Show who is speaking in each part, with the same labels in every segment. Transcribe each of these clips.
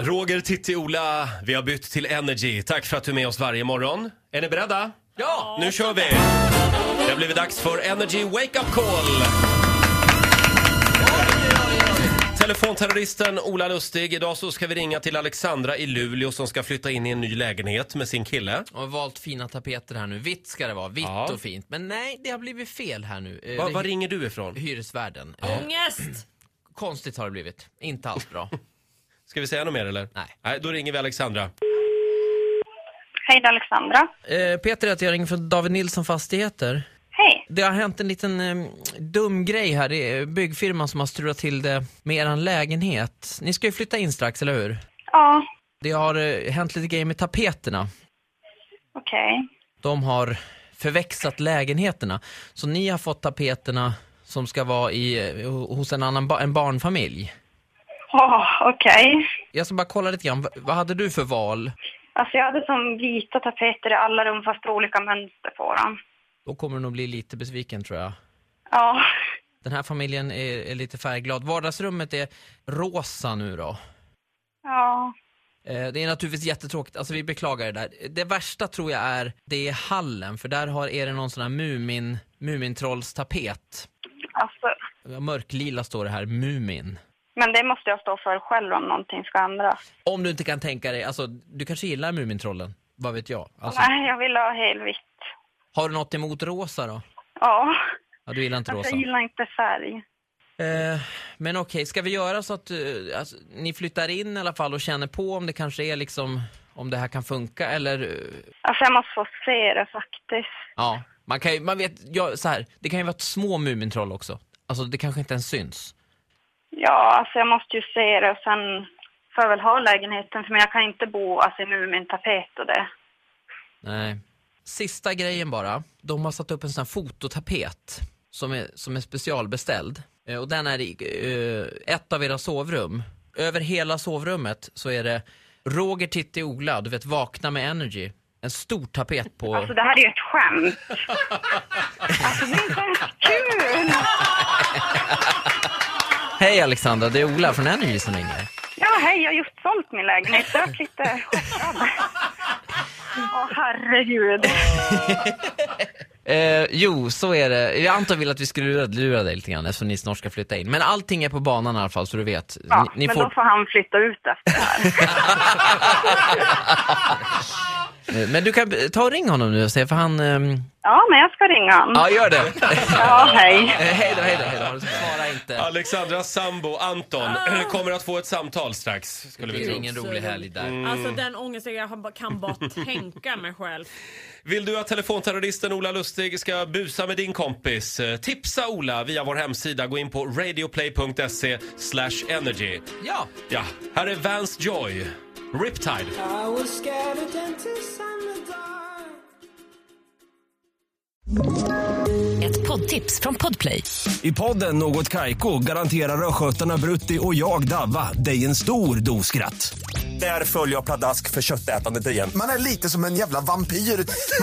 Speaker 1: Roger, Titti, Ola, vi har bytt till Energy. Tack för att du är med oss varje morgon. Är ni beredda? Ja! Nu kör vi! Det har blivit dags för Energy Wake Up Call! Telefonterroristen Ola Lustig. Idag så ska vi ringa till Alexandra i Luleå som ska flytta in i en ny lägenhet med sin kille.
Speaker 2: Jag har valt fina tapeter här nu. Vitt ska det vara, vitt
Speaker 1: Ja.
Speaker 2: och fint. Men nej, det har blivit fel här nu. Eh,
Speaker 1: Va,
Speaker 2: det-
Speaker 1: var ringer du ifrån?
Speaker 2: Hyresvärden. Eh,
Speaker 3: Ångest!
Speaker 2: Konstigt har det blivit. Inte alls bra.
Speaker 1: Ska vi säga något mer eller?
Speaker 2: Nej.
Speaker 1: Nej, då ringer vi Alexandra.
Speaker 4: Hej, det är Alexandra.
Speaker 2: Eh, Peter heter jag, ringer från David Nilsson Fastigheter.
Speaker 4: Hej.
Speaker 2: Det har hänt en liten eh, dum grej här. Det är byggfirman som har strulat till det med eran lägenhet. Ni ska ju flytta in strax, eller hur?
Speaker 4: Ja,
Speaker 2: Det har eh, hänt lite grejer med tapeterna.
Speaker 4: okej.
Speaker 2: De har förväxlat lägenheterna. Så ni har fått tapeterna som ska vara i, eh, hos en annan ba- en barnfamilj.
Speaker 4: Åh, okej.
Speaker 2: Jag ska bara kolla lite grann. V- Vad hade du för val?
Speaker 4: Alltså jag hade som vita tapeter i alla rum fast olika mönster på dem.
Speaker 2: Då kommer du nog bli lite besviken tror jag.
Speaker 4: Ja,
Speaker 2: Den här familjen är, är lite färgglad. Vardagsrummet är rosa nu då.
Speaker 4: ja,
Speaker 2: Eh, Det är naturligtvis jättetråkigt, alltså vi beklagar det där. Det värsta tror jag är, det är hallen, för där har, är det någon sån här mumin, mumintrollstapet.
Speaker 4: alltså.
Speaker 2: Ja, Mörklila står det här, mumin.
Speaker 4: Men det måste jag stå för själv om någonting ska ändras.
Speaker 2: Om du inte kan tänka dig, alltså du kanske gillar Mumintrollen, vad vet jag? Alltså,
Speaker 4: Nej, jag vill ha helvitt.
Speaker 2: har du något emot rosa då?
Speaker 4: Ja,
Speaker 2: Ja, du gillar inte
Speaker 4: alltså
Speaker 2: rosa.
Speaker 4: jag gillar inte färg.
Speaker 2: Eh, men okej, ska vi göra så att eh, alltså, ni flyttar in i alla fall och känner på om det kanske är liksom, om det här kan funka eller? eh,
Speaker 4: Alltså jag måste få se det faktiskt.
Speaker 2: Ja, man kan ju, man vet, ja, så här, det kan ju vara små Mumintroll också. Alltså det kanske inte ens syns.
Speaker 4: Ja, alltså jag måste ju se det och sen får jag väl ha lägenheten för men jag kan inte bo alltså, i Mumintapet och det.
Speaker 2: Nej. Sista grejen bara. De har satt upp en sån här fototapet som är, som är specialbeställd. Eh, Och den är i eh, ett av era sovrum. Över hela sovrummet så är det Roger, Titti, Ola, du vet Vakna med Energy. En stor tapet på...
Speaker 4: Alltså det här är ju ett skämt. Alltså det är inte ens kul.
Speaker 2: Hej Alexandra, det är Ola från Energy som ringer.
Speaker 4: Ja, hej, jag har just sålt min lägenhet. Jag vart lite chockad. Åh, herregud.
Speaker 2: Eh, jo, så är det. Jag antar vill att vi skulle lura- lura dig lite grann eftersom ni snart ska flytta in. Men allting är på banan i alla fall så du vet.
Speaker 4: Ja,
Speaker 2: ni, ni
Speaker 4: men
Speaker 2: får...
Speaker 4: då får han flytta ut efter det här.
Speaker 2: Eh, Men du kan eh, ta och ring honom nu och se för han... ehm,
Speaker 4: Ja, men jag ska ringa honom.
Speaker 2: Ja, gör det.
Speaker 4: Ja, hej.
Speaker 2: Eh, Hej då, hej då, hej då. Ha det så bra. Svara inte.
Speaker 1: Alexandras sambo Anton kommer att få ett samtal strax, skulle
Speaker 2: Ah. Det
Speaker 1: vi
Speaker 2: blir
Speaker 1: tro.
Speaker 2: ingen rolig helg där.
Speaker 3: Alltså den ångesten jag har- kan bara tänka mig själv.
Speaker 1: Vill du att telefonterroristen Ola Lustig ska busa med din kompis? Eh, Tipsa Ola via vår hemsida. Gå in på radioplay.se slash energy.
Speaker 2: Ja,
Speaker 1: Ja, här är Vance Joy, Riptide.
Speaker 5: Ett poddtips från Podplay.
Speaker 6: I podden Något Kaiko garanterar östgötarna Brutti och jag, Davva, dig en stor dos skratt. Där följer jag pladask för köttätandet igen.
Speaker 7: Man är lite som en jävla vampyr. Man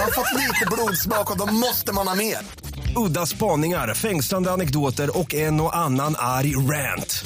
Speaker 7: har fått lite blodsmak och då måste man ha mer.
Speaker 6: Udda spaningar, fängslande anekdoter och en och annan arg rant.